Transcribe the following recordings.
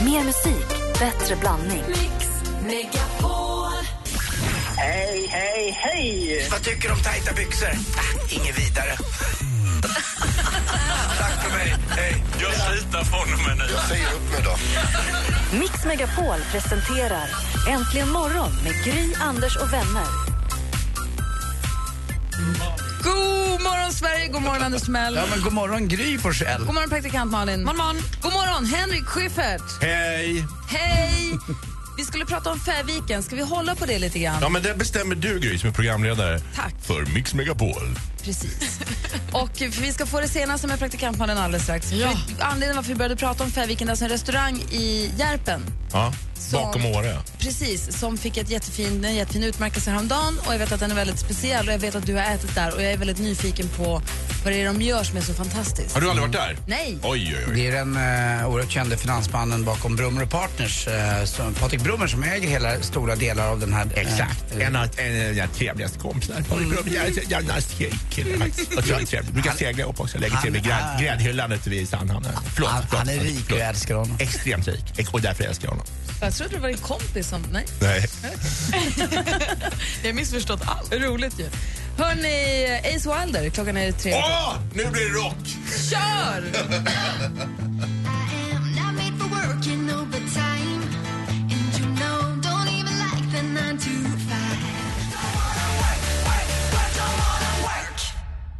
Mer musik, bättre blandning. Mix Megapol. Hej, hej, hej! Vad tycker du om tajta byxor? Ah, inget vidare. Tack för mig. Hej. Jag slutar från och med nu. Jag säger upp mig då. Mix Megapol presenterar Äntligen morgon med Gry, Anders och vänner. God morgon, Sverige! God morgon, Anders Mell. Ja, men god morgon Gry Forssell. God morgon, praktikant Malin. Morgon, morgon. God morgon, Henrik Schyffert. Hej. Hej! Vi skulle prata om Färviken. Ska vi hålla på det lite grann? Ja, men det bestämmer du, Gry, som är programledare Tack. för Mix Megapol. Precis. Och för vi ska få det senaste med praktikant Malin alldeles strax. Ja. Anledningen varför vi började prata om Färviken, det är alltså en restaurang i Järpen. Ja. Som- Bakom Åre. Precis, som fick ett jättefin, en jättefin utmärkelse häromdagen och jag vet att den är väldigt speciell och jag vet att du har ätit där och jag är väldigt nyfiken på vad det är de gör som är så fantastiskt. Har du aldrig varit där? Nej. Oj, oj, oj. Det är den eh, oerhört kände finansmannen bakom Brummer Partners, eh, som, Patrik Brummer, som äger hela stora delar av den här. eh, Exakt. En av en av mina trevligaste kompisar. Jannas kille faktiskt. Otroligt trevlig. Brukar segla upp också. Lägger till vid Han- gräd- gräddhyllan ute vid Sandhamnen. Förlåt. Han, förlåt, han är förlåt, rik och förlåt. jag älskar honom. Extremt rik. Och därför älskar jag honom. Jag trodde det var din kompis som... Nej. Nej. Jag har missförstått allt. Roligt ju. Hörni, Ace Wilder, klockan är tre. Åh! Nu blir det rock! Kör!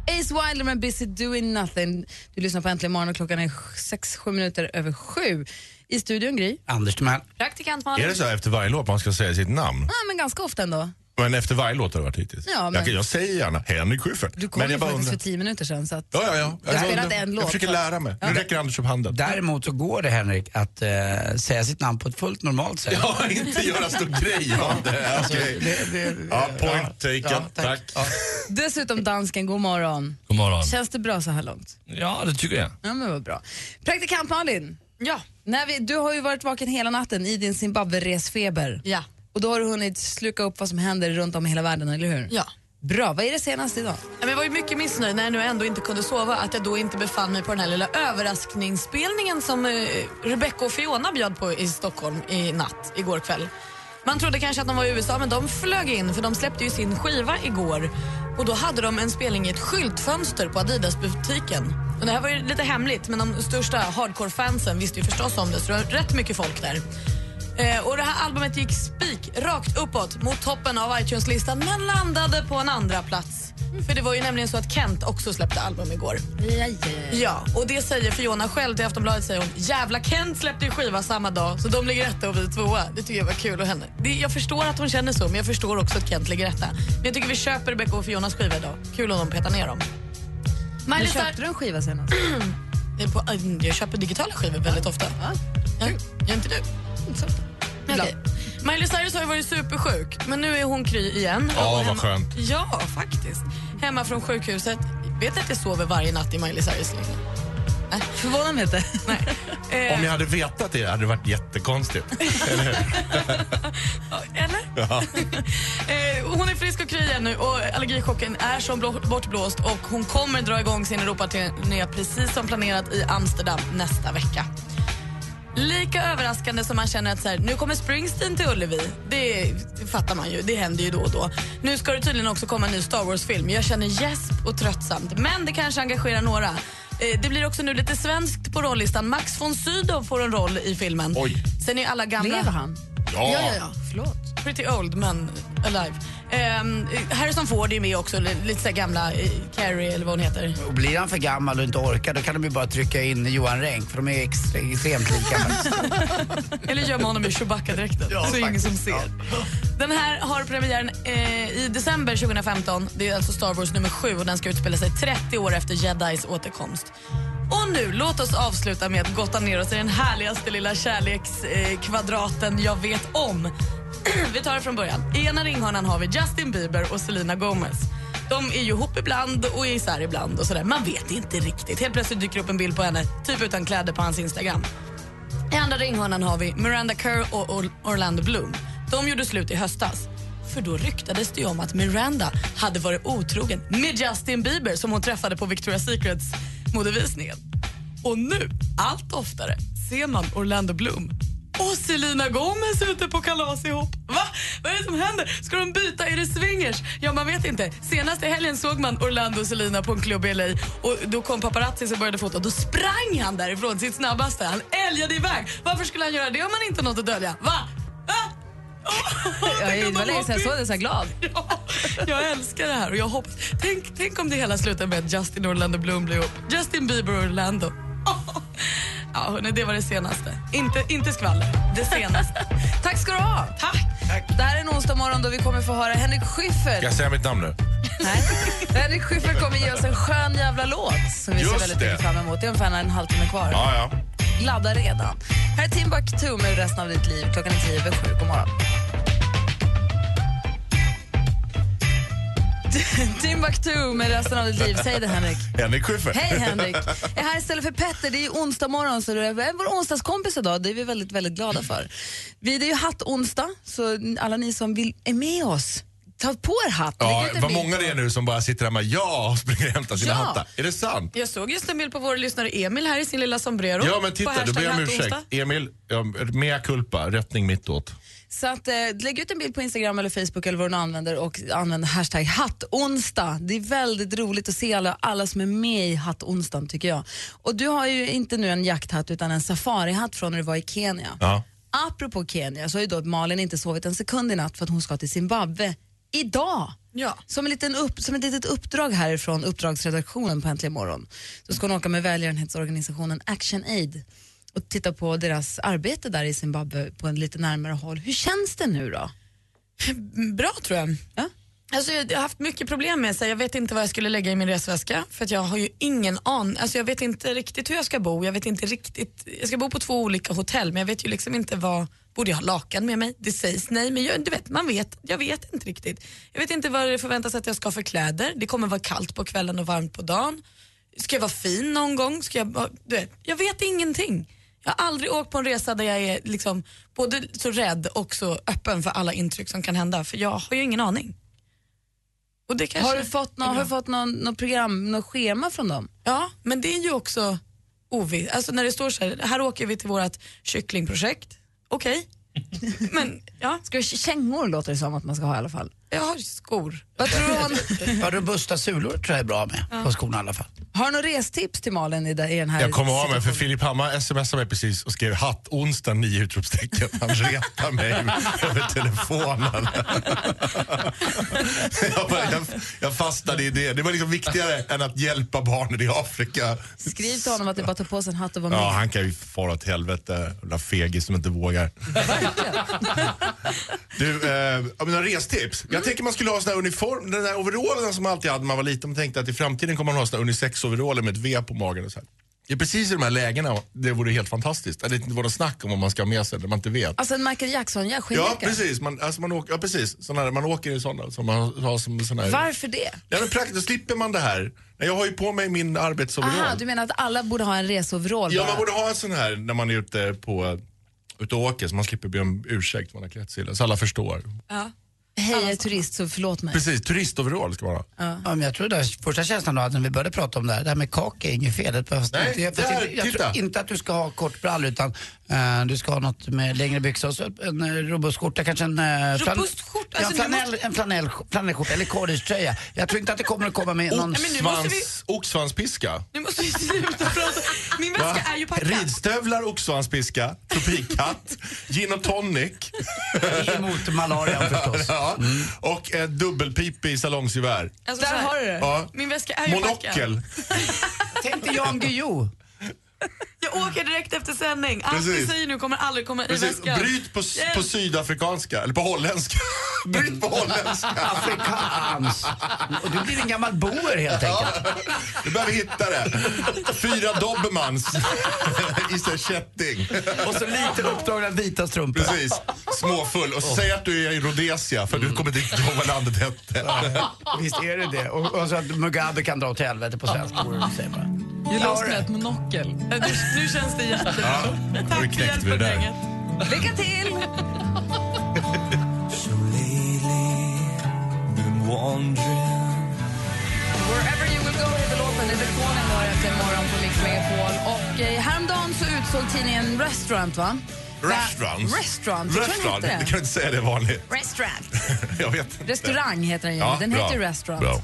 Ace Wilder med Busy Doing Nothing. Du lyssnar på Äntligen morgon och klockan är sex sju minuter över sju. I studion, Gry. Anders Timell. Praktikant Är Malin. det så här efter varje låt man ska säga sitt namn? Ja, men ganska ofta ändå. Men efter varje låt har det varit hittills? Ja, men- jag, kan- jag säger gärna Henrik Schyffert. Du kom jag ju bara faktiskt för undrar. tio minuter sedan. Så att... Ja, ja, ja. Du har spelat undrar- en låt jag försöker först. lära mig. Ja. Nu räcker Anders upp handen. Däremot så går det, Henrik, att eh, säga sitt namn på ett fullt normalt sätt. Ja, inte göra stor grej av det. Okej. Det, det, Ja, point taken. Ja, tack. tack. Ja. Dessutom dansken, god morgon. God morgon. Känns det bra så här långt? Ja, det tycker jag. Ja, men vad bra. Praktikant Malin, Ja. när vi, du har ju varit vaken hela natten i din Zimbabwe-resfeber. Ja. Och då har du hunnit sluka upp vad som händer runt om i hela världen, eller hur? Ja. Bra. Vad är det senaste idag? Ja, men Jag var ju mycket missnöjd när jag nu ändå inte kunde sova att jag då inte befann mig på den här lilla överraskningsspelningen som eh, Rebecca och Fiona bjöd på i Stockholm i natt, igår kväll. Man trodde kanske att de var i USA, men de flög in för de släppte ju sin skiva igår. Och då hade de en spelning i ett skyltfönster på Adidas-butiken. Och det här var ju lite hemligt, men de största hardcore-fansen visste ju förstås om det, så det var rätt mycket folk där. Eh, och det här albumet gick spik rakt uppåt mot toppen av iTunes-listan men landade på en andra plats. För det var ju nämligen så att Kent också släppte album igår. Ja, och det säger Fiona själv till Aftonbladet. Säger hon, Jävla Kent släppte ju skiva samma dag så de ligger etta och vi tvåa. Det tycker jag var kul av henne. Det, jag förstår att hon känner så men jag förstår också att Kent ligger etta. Men jag tycker vi köper Rebecca och Fionas skiva idag. Kul om de petar ner dem. När Miley köpte du en skiva senast? Eh, på- eh, Jag köper digitala skivor väldigt ofta. Ja, gör inte du? Okej. Miley Cyrus har ju varit supersjuk, men nu är hon kry igen. Ja, Och vad skönt. Ja, faktiskt. Hemma från sjukhuset. Vet att jag sover varje natt i Miley Cyrus längre. Förvåna mig inte. Eh, Om jag hade vetat det hade det varit jättekonstigt. Eller? eh, hon är frisk och kry igen nu och allergichocken är som blå- bortblåst och hon kommer dra igång sin Europaturné precis som planerat i Amsterdam nästa vecka. Lika överraskande som man känner att så här, nu kommer Springsteen till Ullevi. Det fattar man ju, det händer ju då och då. Nu ska det tydligen också komma en ny Star Wars-film. Jag känner gäsp och tröttsamt, men det kanske engagerar några. Eh, Det blir också nu lite svenskt på rollistan. Max von Sydow får en roll i filmen. Oj. Sen är alla gamla... Lever han? Ja. Ja, ja, ja. Förlåt. Pretty old men alive. Ehm, Harrison Ford är med också, li- lite så här gamla eh, Carrie eller vad hon heter. Och blir han för gammal och inte orkar, då kan de ju bara trycka in Johan Renck, för de är extre- extremt lika. faktiskt. Eller gömma honom i Chewbacca-dräkten. så ingen som ser. Den här har premiären eh, i december 2015. Det är alltså Star Wars nummer 7 och den ska utspela sig 30 år efter Jedis återkomst. Och nu, låt oss avsluta med att gotta ner oss i den härligaste lilla kärlekskvadraten eh, kvadraten jag vet om. vi tar det från början. I ena ringhörnan har vi Justin Bieber och Selena Gomez. De är ju ihop ibland och är isär ibland och sådär. Man vet inte riktigt. Helt plötsligt dyker upp en bild på henne, typ utan kläder på hans Instagram. I andra ringhörnan har vi Miranda Kerr och Or- Orlando Bloom. De gjorde slut i höstas. För då ryktades det ju om att Miranda hade varit otrogen med Justin Bieber som hon träffade på Victoria's Secrets modevisningen. Och nu, allt oftare, ser man Orlando Bloom och Selena Gomez ute på kalas ihop. Va? Vad är det som händer? Ska de byta? Är det swingers? Ja, man vet inte. Senast i helgen såg man Orlando och Selena på en klubb i LA och då kom paparazzi och började fota. Då sprang han därifrån sitt snabbaste. Han älgade iväg. Varför skulle han göra det om han inte har något att dölja? Va? Va? Åh, Jag tänk är- om det var de länge sedan jag åker såg dig så här glad. Ja, jag älskar det här. Och jag hoppas, tänk, tänk om det hela slutar med att Justin och Orlando Bloom blir ihop. Justin Bieber och Orlando. Åh. Ja, hörni, det var det senaste. Inte, inte skvaller. Det senaste. Tack ska du ha. Tack! Det här är en onsdag morgon då vi kommer få höra Henrik Schyffert. Jag säger mitt namn nu. Nej. Henrik Schyffert kommer ge oss en skön jävla låt som vi ser Just väldigt det. mycket fram emot. Det är ungefär en halvtimme kvar. Ja, ja. Ladda redan. Här är Timbuktu med resten av ditt liv. Klockan är tio över sju. God morgon. Timbuktu med resten av ditt liv. Säg det, Henrik. Henrik Schyffert. Hej, Henrik. Jag är här istället för Petter. Det är ju onsdag morgon, så det är vår onsdagskompis idag. Det är vi väldigt, väldigt glada för. Vi, det är ju hattonsdag, så alla ni som vill är med oss, ta på er hatt. Ja, Lägg ut en vad bild många på- det är nu som bara sitter där med ja och springer och hämtar sina Ja. hattar. Är det sant? Jag såg just en bild på vår lyssnare Emil här i sin lilla sombrero. Ja men På titta, då hashtag ber jag om Hattonsdag. ursäkt. Emil, ja, mea culpa, rättning mittåt. Så att, eh, lägg ut en bild på Instagram eller Facebook eller vad du nu använder och använd hashtag hattonsdag. Det är väldigt roligt att se alla, alla som är med i hattonsdagen tycker jag. Och du har ju inte nu en jakthatt utan en safarihatt från när du var i Kenya. Ja. Apropå Kenya så har ju då Malin inte sovit en sekund i natt för att hon ska till Zimbabwe idag. Ja. Som, en liten upp, som ett litet uppdrag härifrån uppdragsredaktionen på Äntligen morgon. Så ska hon åka med välgörenhetsorganisationen Action Aid och titta på deras arbete där i Zimbabwe på en lite närmare håll. Hur känns det nu då? Bra tror jag. Ja? Alltså, jag har haft mycket problem med så här, jag vet inte vad jag skulle lägga i min resväska för att jag har ju ingen aning. Alltså, jag vet inte riktigt hur jag ska bo. Jag vet inte riktigt. Jag ska bo på två olika hotell men jag vet ju liksom inte vad Borde jag ha lakan med mig? Det sägs nej, men jag, du vet, man vet, jag vet inte riktigt. Jag vet inte vad det förväntas att jag ska ha för kläder. Det kommer vara kallt på kvällen och varmt på dagen. Ska jag vara fin någon gång? Ska jag, vara- du vet, jag vet ingenting. Jag har aldrig åkt på en resa där jag är liksom både så rädd och så öppen för alla intryck som kan hända, för jag har ju ingen aning. Och det kanske Har du fått, nå, är bra. har du fått någon, någon program, något schema från dem? Ja, men det är ju också ovisst. Alltså när det står så här, här åker vi till vårt kycklingprojekt. Okej. men ja, Ska du, kängor låter det som att man ska ha i alla fall. jag har skor. Vad tror du om, Ja, robusta sulor tror jag är bra med på skorna i alla fall. har du några restips till Malin i, det- i den här Jag kommer av mig för situationen? Filip Hammar smsade mig precis och skrev hatt onsdag nio utropstecken. Han retar mig över telefonen. jag, bara, jag, jag fastnade i det. Det var liksom viktigare än att hjälpa barnen i Afrika. Skriv till honom att det bara tar på sig en hatt och var med. Ja, han kan ju fara åt helvete. Jävla fegis som inte vågar. du, eh, ja, men några restips. Mm. Jag tänker man skulle ha såna här uniform, den där overallen som man alltid hade när man var liten. Man tänkte att i framtiden kommer man ha såna här unisex-overaller med ett V på magen och så här. Det är precis i de här lägena det vore helt fantastiskt. Att det inte var något snack om vad man ska ha med sig när man inte vet. Alltså en Michael Jackson, jag Ja, skinnjacka. precis. Man, alltså man, åker, ja, precis. Såna här, man åker i sådana som man har som sån här... Varför det? Ja, men praktiskt, då slipper man det här. Nej, Jag har ju på mig min arbetsoverall. Aha, du menar att alla borde ha en reseoverall Ja, bara? man borde ha en sån här när man är ute på ute och åker så man slipper be om ursäkt för man har klätt sig illa, så alla förstår. Hej, jag är turist så förlåt mig. Precis, turistoverall ska man ha. Ja. men jag tror det här, första känslan då, att när vi började prata om det här, det här med kaka är inget fel. Det behövs Nej, inte. Jag, fast där, inte, jag titta. tror inte att du ska ha kort brall utan eh, du ska ha något med längre byxor och så en eh, robust skjorta, kanske en... Uh, Robust skjorta? Ja, en Alltså, du flanell, en flanell, flanellskjorta eller collegetröja. Jag tror inte att det kommer att komma med någon... men nu måste vi- Svans, oxsvanspiska. Nu måste vi sluta prata. Min väska är ju packad. Ridstövlar, oxsvanspiska, tropikhatt, gin och tonic Emot malarian förstås. ja. Mm. och en dubbelpipa i salongsgevär. Alltså, så Där här. har du det. Ja. Min väska är ju packad. Monokel. Tänk dig Jan Guillou. Jag åker direkt efter sändning. Allt ni Precis. säger nu kommer aldrig komma i Precis. väskan. Bryt på, s- Hjälp. på sydafrikanska, eller på holländska. Bryt på holländska. Afrikans. Och du blir en gammal boer helt enkelt. Du behöver hitta det. Fyra dobermans i sig kätting. Och så lite uppdragna vita strumpor. Precis, småfull. Och så säg att du är i Rhodesia för du kommer inte ihåg vad landet hette. Visst är det det? Och, och så att Mugabe kan dra åt helvete på svenska. vore det att säga bara. Jag har det. Ett monokel. Nu, nu känns det jättebra. Ja, då Tack för knäckte vi hjälpen det där. gänget. Lycka till! Wherever you will go heter låten. Det är telefonen går efter morgon på Mix Megapol. Och eh, häromdagen så utsåg tidningen Restaurant va? Restaurant. Restaurant, jag tror den Restaurant. heter det. Du kan inte säga det vanligt. Restaurant. Jag vet inte. Restaurang heter den ju. Ja, den bra. heter ju Restaurant. Bra.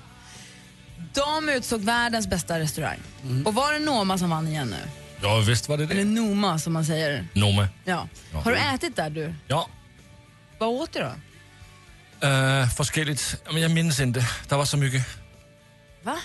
De utsåg världens bästa restaurang. Mm. Och var det Noma som vann igen nu? Ja, visst var det Eller det. Noma som man säger. Nome. Ja. Har du ätit där du? Ja. Vad åt du då? Uh, forskelligt. Men jag minns inte. Det var så mycket. Va?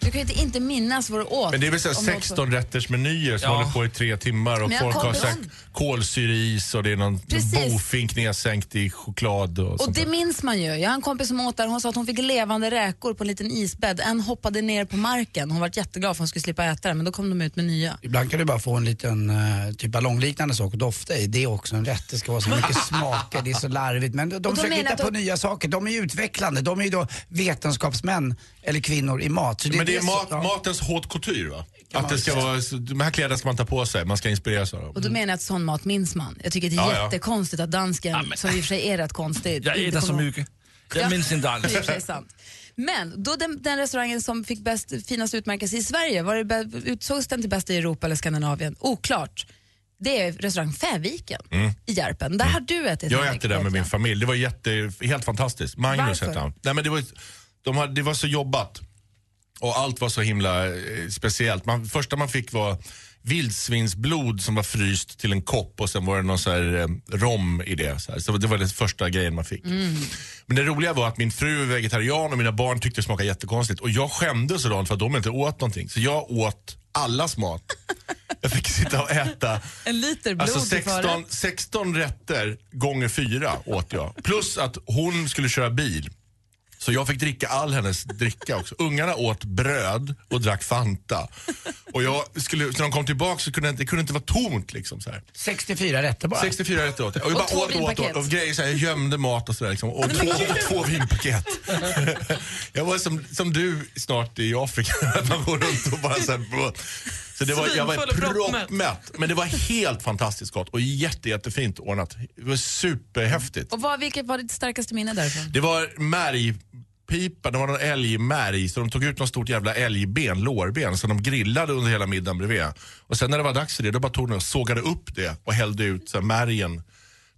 Du kan ju inte, inte minnas vad du åt. Men det är väl Om du åt- 16 rätters menyer som Ja. håller på i tre timmar och Men jag folk har kommer sagt ihåg. kolsyreis och det är någon Precis. bofink nedsänkt i choklad och, Och sånt det där. minns man ju. Jag har en kompis som åt där hon sa att hon fick levande räkor på en liten isbädd. En hoppade ner på marken. Hon var jätteglad för hon skulle slippa äta den men då kom de ut med nya. Ibland kan du bara få en liten eh, typ ballongliknande sak att dofta i. Det är också en rätt. Det ska vara så mycket smaker, det är så larvigt. Men de, de försöker menar hitta på att de- nya saker. De är ju utvecklande. De är ju då vetenskapsmän eller kvinnor i mat. Så Men det är så- mat, ja. matens haute couture va? man Att det ska säga. vara, så- de här kläderna ska man ta på sig, man ska inspireras av dem. Och då menar jag att sån mat minns man. Jag tycker det är Mm. Ja, ja. jättekonstigt att dansken, men- som i och för sig är rätt konstig, Jag inte äter så kommer ihåg. mycket. Jag Ja. minns inte alls. Det är i och för sig sant. Men då den, den restaurangen som fick bäst, finast utmärkelse i Sverige, var det, bä- utsågs den till bäst i Europa eller Skandinavien? Oklart. Det är restaurang Fäviken i Järpen. Där har du ätit. Mm. Jag Henrik, äter det med vet min jag. familj. Det var jätte, helt fantastiskt. Magnus Varför? hette han. Nej, men det, var, de hade, det var så jobbat och allt var så himla eh, speciellt. Man, första man fick var vildsvinsblod som var fryst till en kopp och sen var det någon så här, eh, rom i det. Så, här. så det var den första grejen man fick. Mm. Men det roliga var att min fru är vegetarian och mina barn tyckte det smakade jättekonstigt. Och jag skämdes sådant för att de inte åt någonting. Så jag åt allas mat. Jag fick sitta och äta En liter blod Alltså i förrätt. 16, 16 rätter gånger fyra åt jag. Plus att hon skulle köra bil. Så jag fick dricka all hennes dricka också. Ungarna åt bröd och drack Fanta. Och jag skulle, när de kom tillbaka så kunde det inte- det kunde inte vara tomt. Liksom, så här. 64 rätter bara. 64 rätter åt jag. Och jag Och bara två åt, åt, åt. vinpaket. Och grejer så här, jag gömde mat och sådär. Liksom. Och två, två vinpaket. jag var som, som du snart i Afrika. Att man går runt och bara så här, blå. så det var, Jag var Svinfull och proppmätt. proppmätt. Men det var helt fantastiskt gott och jätte, jättefint ordnat. Det var superhäftigt. Och vad, vilket var ditt starkaste minne därifrån? Det var märgpipa, det var någon älgmärg så de tog ut något stort jävla älgben, lårben, som de grillade under hela middagen bredvid. Och sen när det var dags för det, då bara tog de och sågade upp det och hällde ut så här, märgen.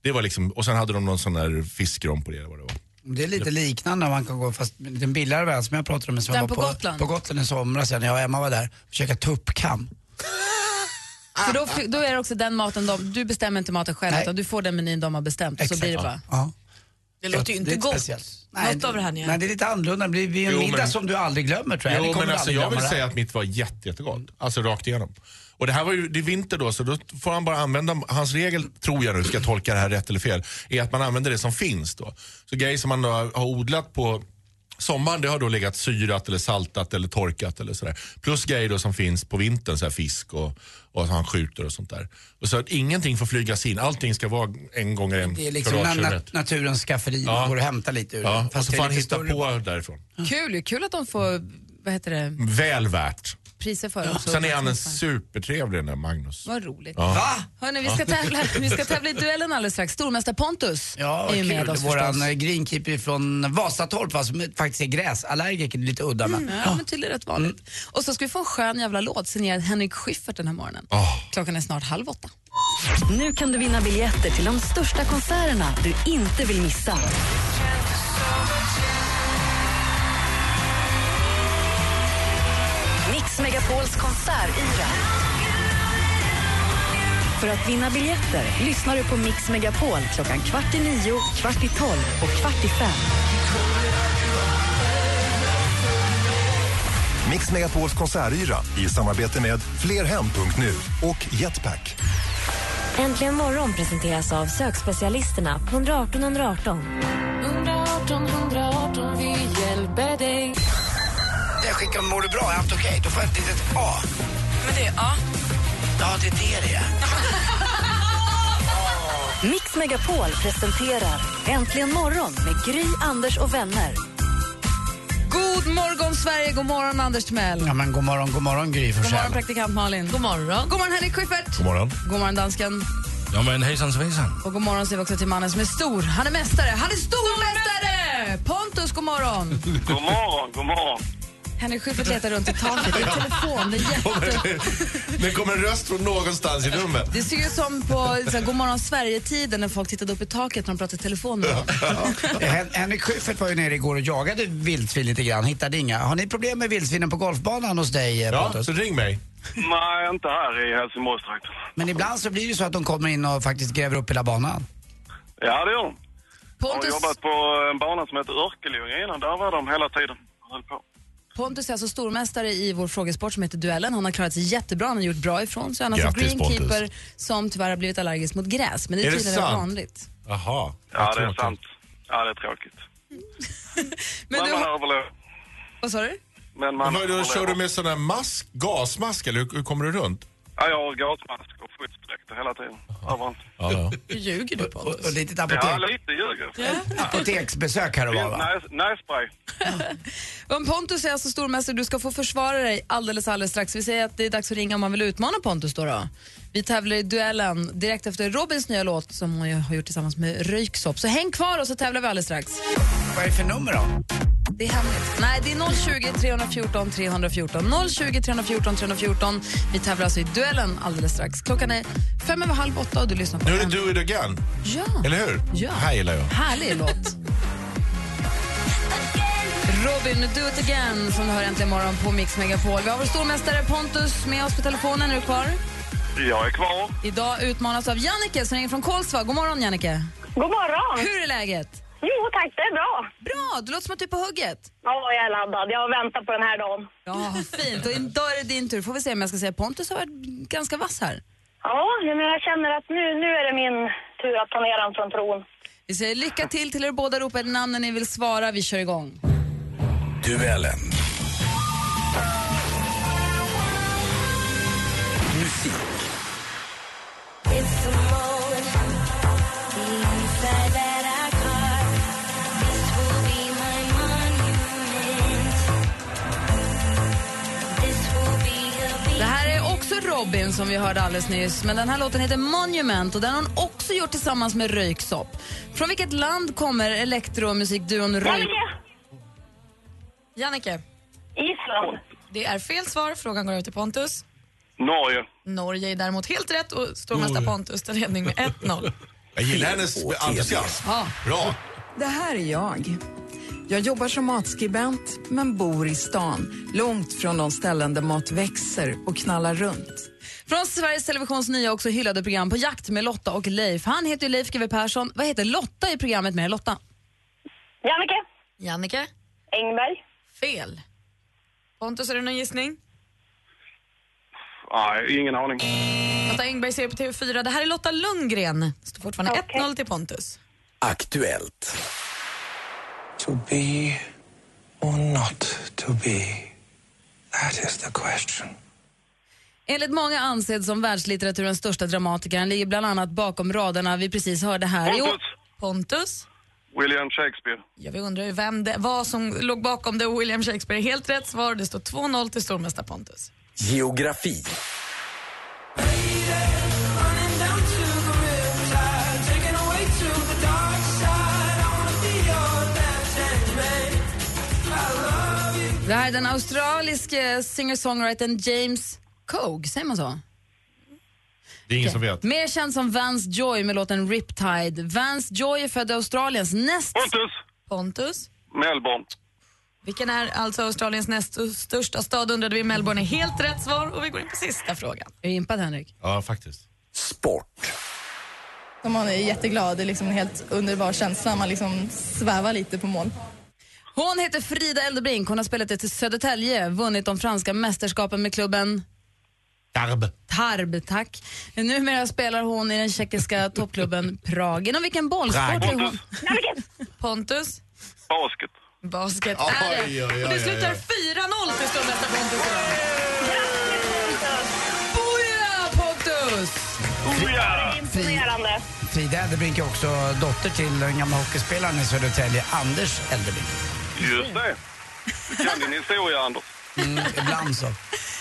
Det var liksom, och sen hade de någon sån där fiskrom på det eller vad det var. Det är lite liknande man kan gå, fast den billigare värld som jag pratade om som Den jag var på Gotland? på Gotland i somras när jag och Emma var där och käkade tuppkam. För Ah, då, fi- då är det också den maten de, du bestämmer inte maten själv Nej. utan du får den menyn de har bestämt och så Exakt. blir det bara. Ja. Det Det låter ju är inte lite gott. speciellt. Något av det här ni Nej, det är lite annorlunda. Det blir- blir en Jo, men- middag som du aldrig glömmer tror jag. Ni Jo, kommer men alltså, aldrig jag vill glömma det här. säga att mitt var jätte, jättegott. Alltså rakt igenom. Och det här var ju, det är vinter då så då får han bara använda, hans regel tror jag nu, ska jag tolka det här rätt eller fel, är att man använder det som finns då. Så grejer som man då har odlat på sommaren det har då legat syrat eller saltat eller torkat eller sådär. Plus grejer då som finns på vintern, så här fisk och, och att han skjuter och sånt där. Och så att ingenting får flygas in, allting ska vara en gånger en Det är liksom na na- kvadratkilometer. naturens skafferi. Ja. Man går och hämtar lite ur det, Ja, och så det är får han lite hitta större. på därifrån. Kul ju, kul att de får vad heter det, Väl värt. priser för det också. Sen är han en supertrevlig den där Magnus. Vad roligt. Ja. Va? Hörrni, vi, ska tävla, vi ska tävla i duellen alldeles strax. Stormästare Pontus Ja, är ju med kul. oss Våran eh, förstås. greenkeeper från Vasatorp va, som faktiskt är gräsallergiker, lite udda Mm. men. Ja, men tydligen rätt vanligt. Och så ska vi få en skön jävla låt signerad Henrik Schyffert den här morgonen. Ah, Klockan är snart halv åtta. Nu kan du vinna biljetter till de största konserterna du inte vill missa. Mix Megapols konsertyra. För att vinna biljetter lyssnar du på Mix Megapol klockan kvart i nio, kvart i tolv och kvart i fem. Mix Megapols konsertyra i samarbete med flerhem.nu och Jetpack. Äntligen morgon presenteras av sökspecialisterna på 118 118. Jag skickar mår du bra, är allt okej? Då får jag ett litet A. Men det, ja. Ja, det är det det är. Mix Megapol presenterar Äntligen morgon med Gry, Anders och vänner. God morgon Sverige, god morgon Anders Timell. Ja, men god morgon, god morgon Gry God morgon Forssell. praktikant Malin. God morgon. God morgon Henrik Schyffert. God morgon. God morgon dansken. Ja, men hejsan svejsan. Och god morgon säger vi också till mannen som är stor. Han är mästare. Han är stormästare! Pontus, god morgon. God morgon, god morgon. Henrik Schyffert letar runt i taket. Det är en telefon. Det är jätte... Det kommer en röst från någonstans i rummet. Det ser ju ut som på så här, God morgon Sverige-tiden när folk tittade upp i taket när de pratade i telefon med varandra. Eh, Hen- Henrik Schyffert var ju nere igår och jagade vildsvin lite grann, hittade inga. Har ni problem med vildsvinen på golfbanan hos dig eh, Ja, Pontus? så ring mig. Nej, inte här i Helsingborgstrakten. Men ibland så blir det ju så att de kommer in och faktiskt gräver upp hela banan. Ja, det gör de. Jag har Pontus- jobbat på en bana som heter Örkelljunga innan. Där var de hela tiden. Höll på. Pontus är alltså stormästare i vår frågesport som heter Duellen. Han har klarat sig jättebra, han har gjort bra ifrån sig. Han har fått Grattis, greenkeeper Pontus. som tyvärr har blivit allergisk mot gräs. Men det är, Är det tydligen rätt sant? vanligt. Jaha. Ja, det är sant. Ja, det är tråkigt. Men, man överlever. Vad sa du? Men man Men vad, då kör överlever. du med sån här mask, gasmask eller hur, hur kommer du runt? Ja, jag har gasmask och skyddsdräkter hela tiden. Överallt. Ja, ja. Ljuger du på Och, och litet Ja, apotek, lite ljuger. apoteksbesök här och var va? Nice, nice spray. Om Pontus är alltså stormästare, du ska få försvara dig alldeles, alldeles strax. Vi säger att det är dags att ringa om man vill utmana Pontus då. då. Vi tävlar i duellen direkt efter Robins nya låt som hon ju har gjort tillsammans med Röyksopp. Så häng kvar och så tävlar vi alldeles strax. Vad är det för nummer då? Det är hemligt. Nej, det är 020 314 314. 020 314 314. Vi tävlar alltså i duellen alldeles strax. Klockan är fem över halv åtta och du lyssnar på Nu är det Äntligen. do it again, Ja. eller hur? Ja. Det här gillar jag. Härlig låt. Robin, do it again, som du hör äntligen imorgon på Mix Megapol. Vi har vår stormästare Pontus med oss på telefonen. Är du kvar? Jag är kvar. Idag utmanas av Jannike som ringer från Kolsva. God morgon, Jannike. God morgon! Hur är läget? Jo tack, det är bra. Bra! Du låter som att du är på hugget. Ja, jag är laddad. Jag har väntat på den här dagen. Ja, fint. Och idag är det din tur. Får vi se om jag ska säga Pontus har varit ganska vass här. Ja, men jag känner att nu, nu är det min tur att ta ner den från tron. Vi säger lycka till till er båda. Ropa ett namn när ni vill svara. Vi kör igång. Duellen. Musik. Det här är också Robin som vi hörde alldeles nyss. Men den här låten heter Monument och den har hon också gjort tillsammans med Röyksopp. Från vilket land kommer elektromusikduon Röyksopp? Jannike, Island. det är fel svar. Frågan går över till Pontus. Norge. Norge är däremot helt rätt och stormästare Pontus tar ledning med 1-0. Jag gillar hennes entusiasm. Ja. Bra. Det här är jag. Jag jobbar som matskribent, men bor i stan. Långt från de ställen där mat växer och knallar runt. Från Sveriges Televisions nya också hyllade program På jakt med Lotta och Leif. Han heter ju Leif GW Persson. Vad heter Lotta i programmet med Lotta? Jannike. Jannike? Engberg. Fel. Pontus, har du någon gissning? Nej, ingen aning. Lotta Engberg ser på TV4. Det här är Lotta Lundgren. Det står fortfarande 1-0 till Pontus. Aktuellt. To be or not to be. That is the question. Enligt många ansedd som världslitteraturens största dramatiker. Han ligger bland annat bakom raderna vi precis hörde här. Jo, Pontus. Pontus? William Shakespeare. Ja, vi undrar ju vem det var som låg bakom det. William Shakespeare är helt rätt svar. Det står 2-0 till stormästare Pontus. Geografi. det här är den australiske singer-songwritern James Cogue, säger man så? Det är ingen som vet. Mer känd som Vance Joy med låten Riptide. Vance Joy är född i Australiens näst... Pontus! Pontus? Melbourne. Vilken är alltså Australiens näst största stad undrade vi. Melbourne är helt rätt svar och vi går in på sista frågan. Är du impad, Henrik? Ja, faktiskt. Sport. Man är jätteglad, det är liksom en helt underbar känsla. Man liksom svävar lite på mål. Hon heter Frida Eldebrink. Hon har spelat det till Södertälje, vunnit de franska mästerskapen med klubben Darb. Tarb, tack. Numera spelar hon i den tjeckiska toppklubben Prag. Inom vilken bollsport Prag. är hon? Pontus? Basket. Basket Oj, är det. oj, oj, och det oj, slutar 4-0 oj. till stormästare Pontus idag. Boja, Pontus! Oh, Imponerande. Frida Eldebrink är också dotter till den gamla hockeyspelaren i Södertälje, Anders Eldebrink. Just det. Du kan din historia, Anders. Mm, ibland så.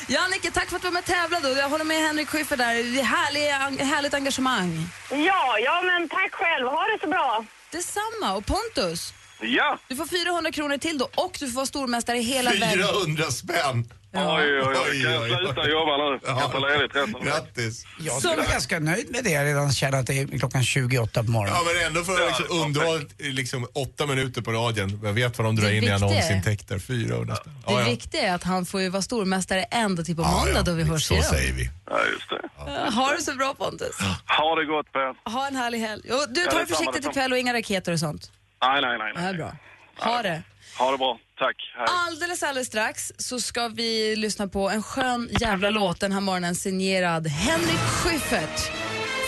Jannike, tack för att du var med och tävlade. Och Jag håller med Henrik Schyffert där. Det är härlig, härligt engagemang. Ja, ja men tack själv. Ha det så bra. Detsamma. Och Pontus? Ja! Du får 400 kronor till då och du får vara stormästare i hela världen. 400 spänn! Oj, oj, oj. Kan jag sluta jobba nu? Kan jag ta ledigt resten av veckan? Grattis! Jag skulle vara ganska nöjd med det. Jag redan känner att det är klockan 28 på morgonen. Ja, men ändå för att liksom underhållet i liksom åtta minuter på radion. Jag vet vad de drar Det in i viktiga är- annonsintäkter. 400 spänn. Det Ja, ja. viktiga är att han får ju vara stormästare ända till på måndag då vi hörs Så igen. säger vi. Ja, just det. Ja, Ha det så bra Pontus. Ha det gott på er. Ha en härlig helg. Och du, Ja, ta det detsamma, försiktigt detsamma. ikväll och inga raketer och sånt. Nej, nej, nej. Det här är nej. bra. Ha det. Ha det bra. Tack. Hej. Alldeles, alldeles strax så ska vi lyssna på en skön jävla låt den här morgonen signerad Henrik Schyffert.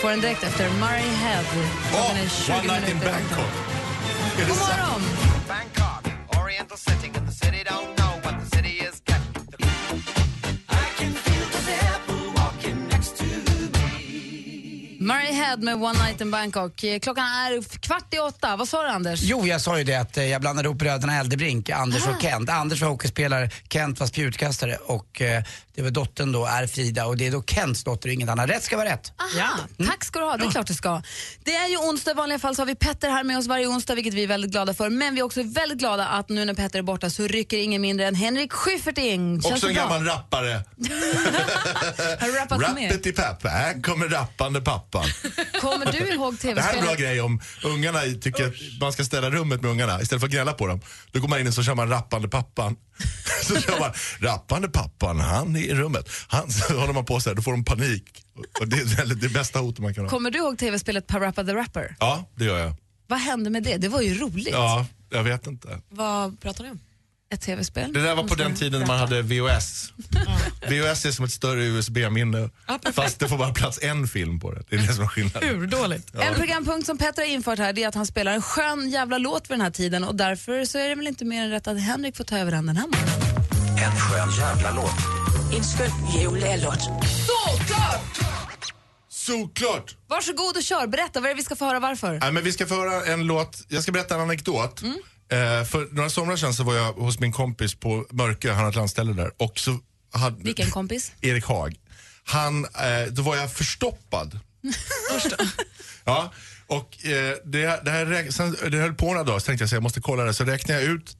Får den direkt efter Murray Head. Klockan är 20 One night in minuter. Bangkok. God morgon! Oriental setting and the city don't know what the city is getting. I can feel the devil walking next to Murray Head med One Night in Bangkok. Eh, Klockan är f- kvart i åtta. Vad sa du, Anders? Jo, jag sa ju det att eh, jag blandade ihop bröderna Eldebrink, Anders och Kent. Anders var hockeyspelare, Kent var spjutkastare och eh, det var dottern då, är Frida och det är då Kents dotter och inget annat. Rätt ska vara rätt. Aha, Tack ska du ha, det är klart du ska. Det är ju onsdag, i vanliga fall så har vi Petter här med oss varje onsdag vilket vi är väldigt glada för. Men vi är också väldigt glada att nu när Petter är borta så rycker ingen mindre än Henrik Schyffert in. Känns Också det en bra? gammal rappare. Har du rappat med? Rappet i pappa, här kommer rappande pappan. Kommer du ihåg Det här är en bra tv-spelet? grej om ungarna tycker att man ska ställa rummet med ungarna istället för att gnälla på dem. Då går man in och så kör man rappande pappan. Så kör man rappande pappan, han är i rummet. Han, så håller man på så här, då får de panik. Och det är väldigt- det bästa hotet man kan ha. Kommer du ihåg tv-spelet Parappa the Rapper? Ja, det gör jag. Vad hände med det? Det var ju roligt. Ja, jag vet inte. Vad pratar ni om? Ett tv-spel. Det där var på den tiden man hade VHS. VHS är som ett större USB-minne. Fast det får bara plats en film på det. Det är det som är skillnaden. dåligt. Ja. En programpunkt som Petter har infört här det är att han spelar en skön jävla låt vid den här tiden och därför så är det väl inte mer än rätt att Henrik får ta över den den här morgonen. En skön jävla låt. En skön jävla låt. Såklart! Såklart! Varsågod och kör, berätta vad är det vi ska få höra varför. Nej, men vi ska få höra en låt. Jag ska berätta en anekdot. Eh, för några somrar sedan så var jag hos min kompis på Mörkö, han har ett landställe där. Och så hade Vilken kompis? Erik Haag. Han, eh, då var jag förstoppad. ja, och eh, det, det, här räk- sen, det höll på några dagar så tänkte jag så jag måste kolla det. Så räknade jag ut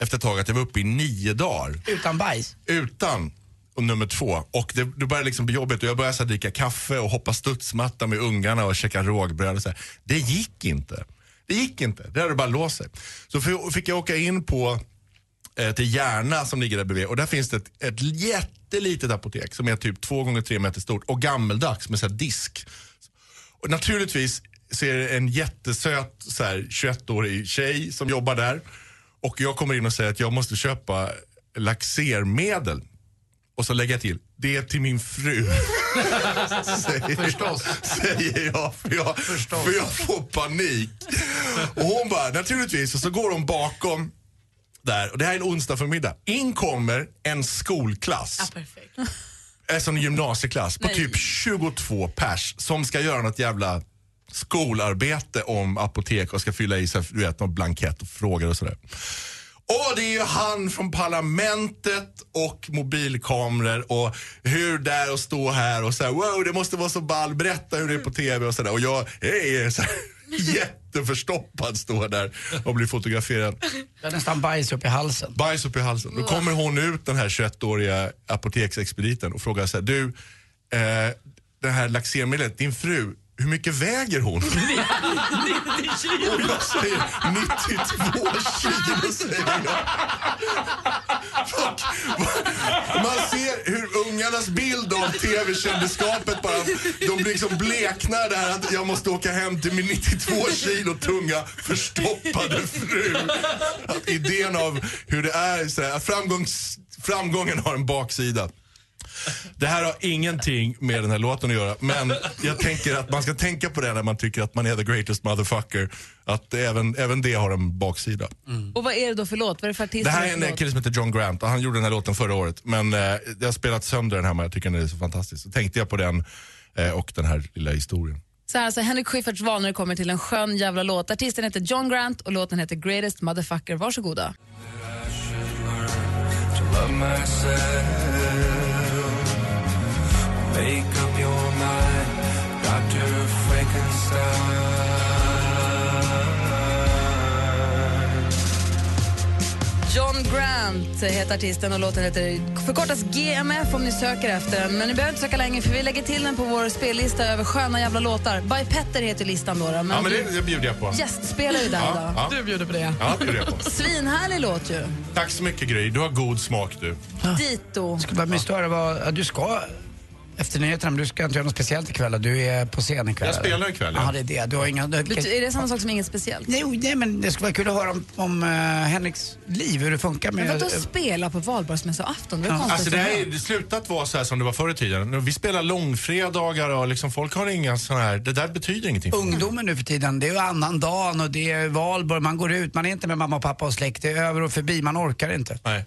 efter ett tag att jag var uppe i nio dagar Utan bajs. utan och nummer två. Och det, det började liksom bli jobbigt och jag började så här, dricka kaffe och hoppa studsmatta med ungarna och käka rågbröd. Och så här. Det gick inte. Det gick inte. Det hade bara låst sig. Så f- fick jag åka in på eh, till Järna som ligger där bredvid och där finns det ett, ett jättelitet apotek som är typ två gånger tre meter stort och gammeldags med så här disk. Och naturligtvis så är det en jättesöt så här, 21-årig tjej som jobbar där. Och jag kommer in och säger att jag måste köpa laxermedel. Och så lägger jag till, det är till min fru. säger, Förstås. Säger jag, för jag, för jag får panik. Och hon bara, naturligtvis. Och så går hon bakom där. Och det här är en onsdag förmiddag. In kommer en skolklass. perfekt. En sån eh, gymnasieklass på Nej. typ 22 pers som ska göra något jävla skolarbete om apotek och ska fylla i så här, du vet, någon blankett och frågor och sådär. Och det är ju han från Parlamentet och mobilkameror och hur där och stå här och så här, wow det måste vara så ball, berätta hur det är på TV och sådär. Och jag är så här, jätteförstoppad, står där och blir fotograferad. Jag har nästan bajs upp i halsen. Bajs upp i halsen. Då kommer hon ut, den här 21-åriga apoteksexpediten och frågar så här, du, eh, det här laxermedlet, din fru, hur mycket väger hon? Och jag säger 92 kilo säger jag. Fuck. Man ser hur ungarnas bild av tv-kändisskapet bara, de liksom bleknar där att jag måste åka hem till min 92 kilo tunga förstoppade fru. Att idén av hur det är, så här, att framgångs, framgången har en baksida. Det här har ingenting med den här låten att göra, men jag tänker att man ska tänka på det när man tycker att man är the greatest motherfucker. Att även, även det har en baksida. Och vad är det då för låt? Vad är det för artist? Det här och är för en eh, låt? kille som heter John Grant och han gjorde den här låten förra året. Men eh, jag har spelat sönder den här men jag tycker den är så fantastisk. Så tänkte jag på den eh, och den här lilla historien. Så här, alltså, Henrik Schyfferts val när det kommer till en skön jävla låt. Artisten heter John Grant och låten heter Greatest Motherfucker. Varsågoda. To love myself. Make up your mind. Dr. Frankenstein. Glamorous heter artisten och låten heter förkortas GMF om ni söker efter den. Men ni behöver inte söka länge för vi lägger till den på vår spellista över sköna jävla låtar. By Petter heter listan då. då men Ja, men det, det bjuder jag på. Gästspelar ju där idag. Du bjuder på det. Ja, det bjuder jag på. Svinhärlig låt ju. Tack så mycket Gry, du har god smak du. Dito. Skulle bara mysigt att höra vad ja, du ska efter nyheterna, men du ska inte göra något speciellt ikväll. Du är på scen ikväll. Jag spelar ikväll, ja. Ja, det är det. Du har inga... Du, Bety- Är det samma sak som inget speciellt? Nej, oh, nej men det skulle vara kul att höra om, om eh, Henriks liv, hur det funkar Men med... vadå spela på valborgsmässoafton? Det var konstigt. Alltså det för har mig. ju slutat vara så här som det var förr i tiden. Nu, Vi spelar långfredagar och liksom folk har inga sån här, det där betyder ingenting. för dem. Ungdomen nu för tiden, det är ju annan dag och det är valborg, man går ut, man är inte med mamma och pappa och släkt, det är över och förbi, man orkar inte. Nej.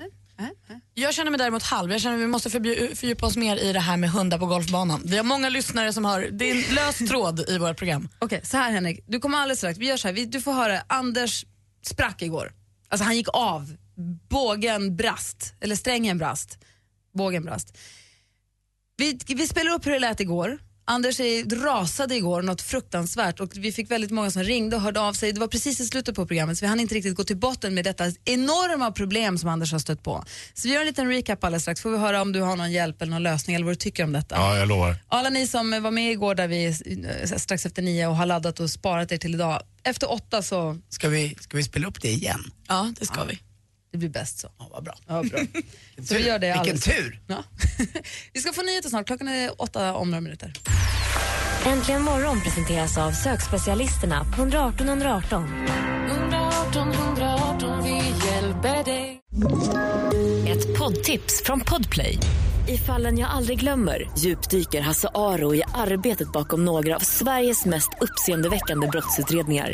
Jag känner mig däremot halv. Jag känner att vi måste förbju- fördjupa oss mer i det här med hundar på golfbanan. Vi har många lyssnare som har, det är en lös tråd i vårt program. Okej, så här Henrik. Du kommer alldeles strax. Vi gör så här. Vi, du får höra. Anders sprack igår. Alltså han gick av. Bågen brast. Eller strängen brast. Bågen brast. Vi, vi spelar upp hur det lät igår. Anders är, rasade igår, något fruktansvärt. Och vi fick väldigt många som ringde och hörde av sig. Det var precis i slutet på programmet så vi hann inte riktigt gå till botten med detta enorma problem som Anders har stött på. Så vi gör en liten recap alldeles strax. Får vi höra om du har någon hjälp eller någon lösning eller vad du tycker om detta. Ja, jag lovar. Alla ni som var med igår där vi eh, strax efter nio och har laddat och sparat er till idag. Efter åtta så, Ska vi, ska vi spela upp det igen? ja det ska vi. det blir bäst så. Ja, vad bra. Ja, bra. så vi gör det Vilken alldeles. tur! Ja. vi ska få nyheter snart, klockan är åtta om några minuter. Äntligen morgon presenteras av sökspecialisterna på 118 118. 118 118, vi hjälper dig. Ett poddtips från Podplay. I fallen jag aldrig glömmer djupdyker Hasse Aro i arbetet bakom några av Sveriges mest uppseendeväckande brottsutredningar.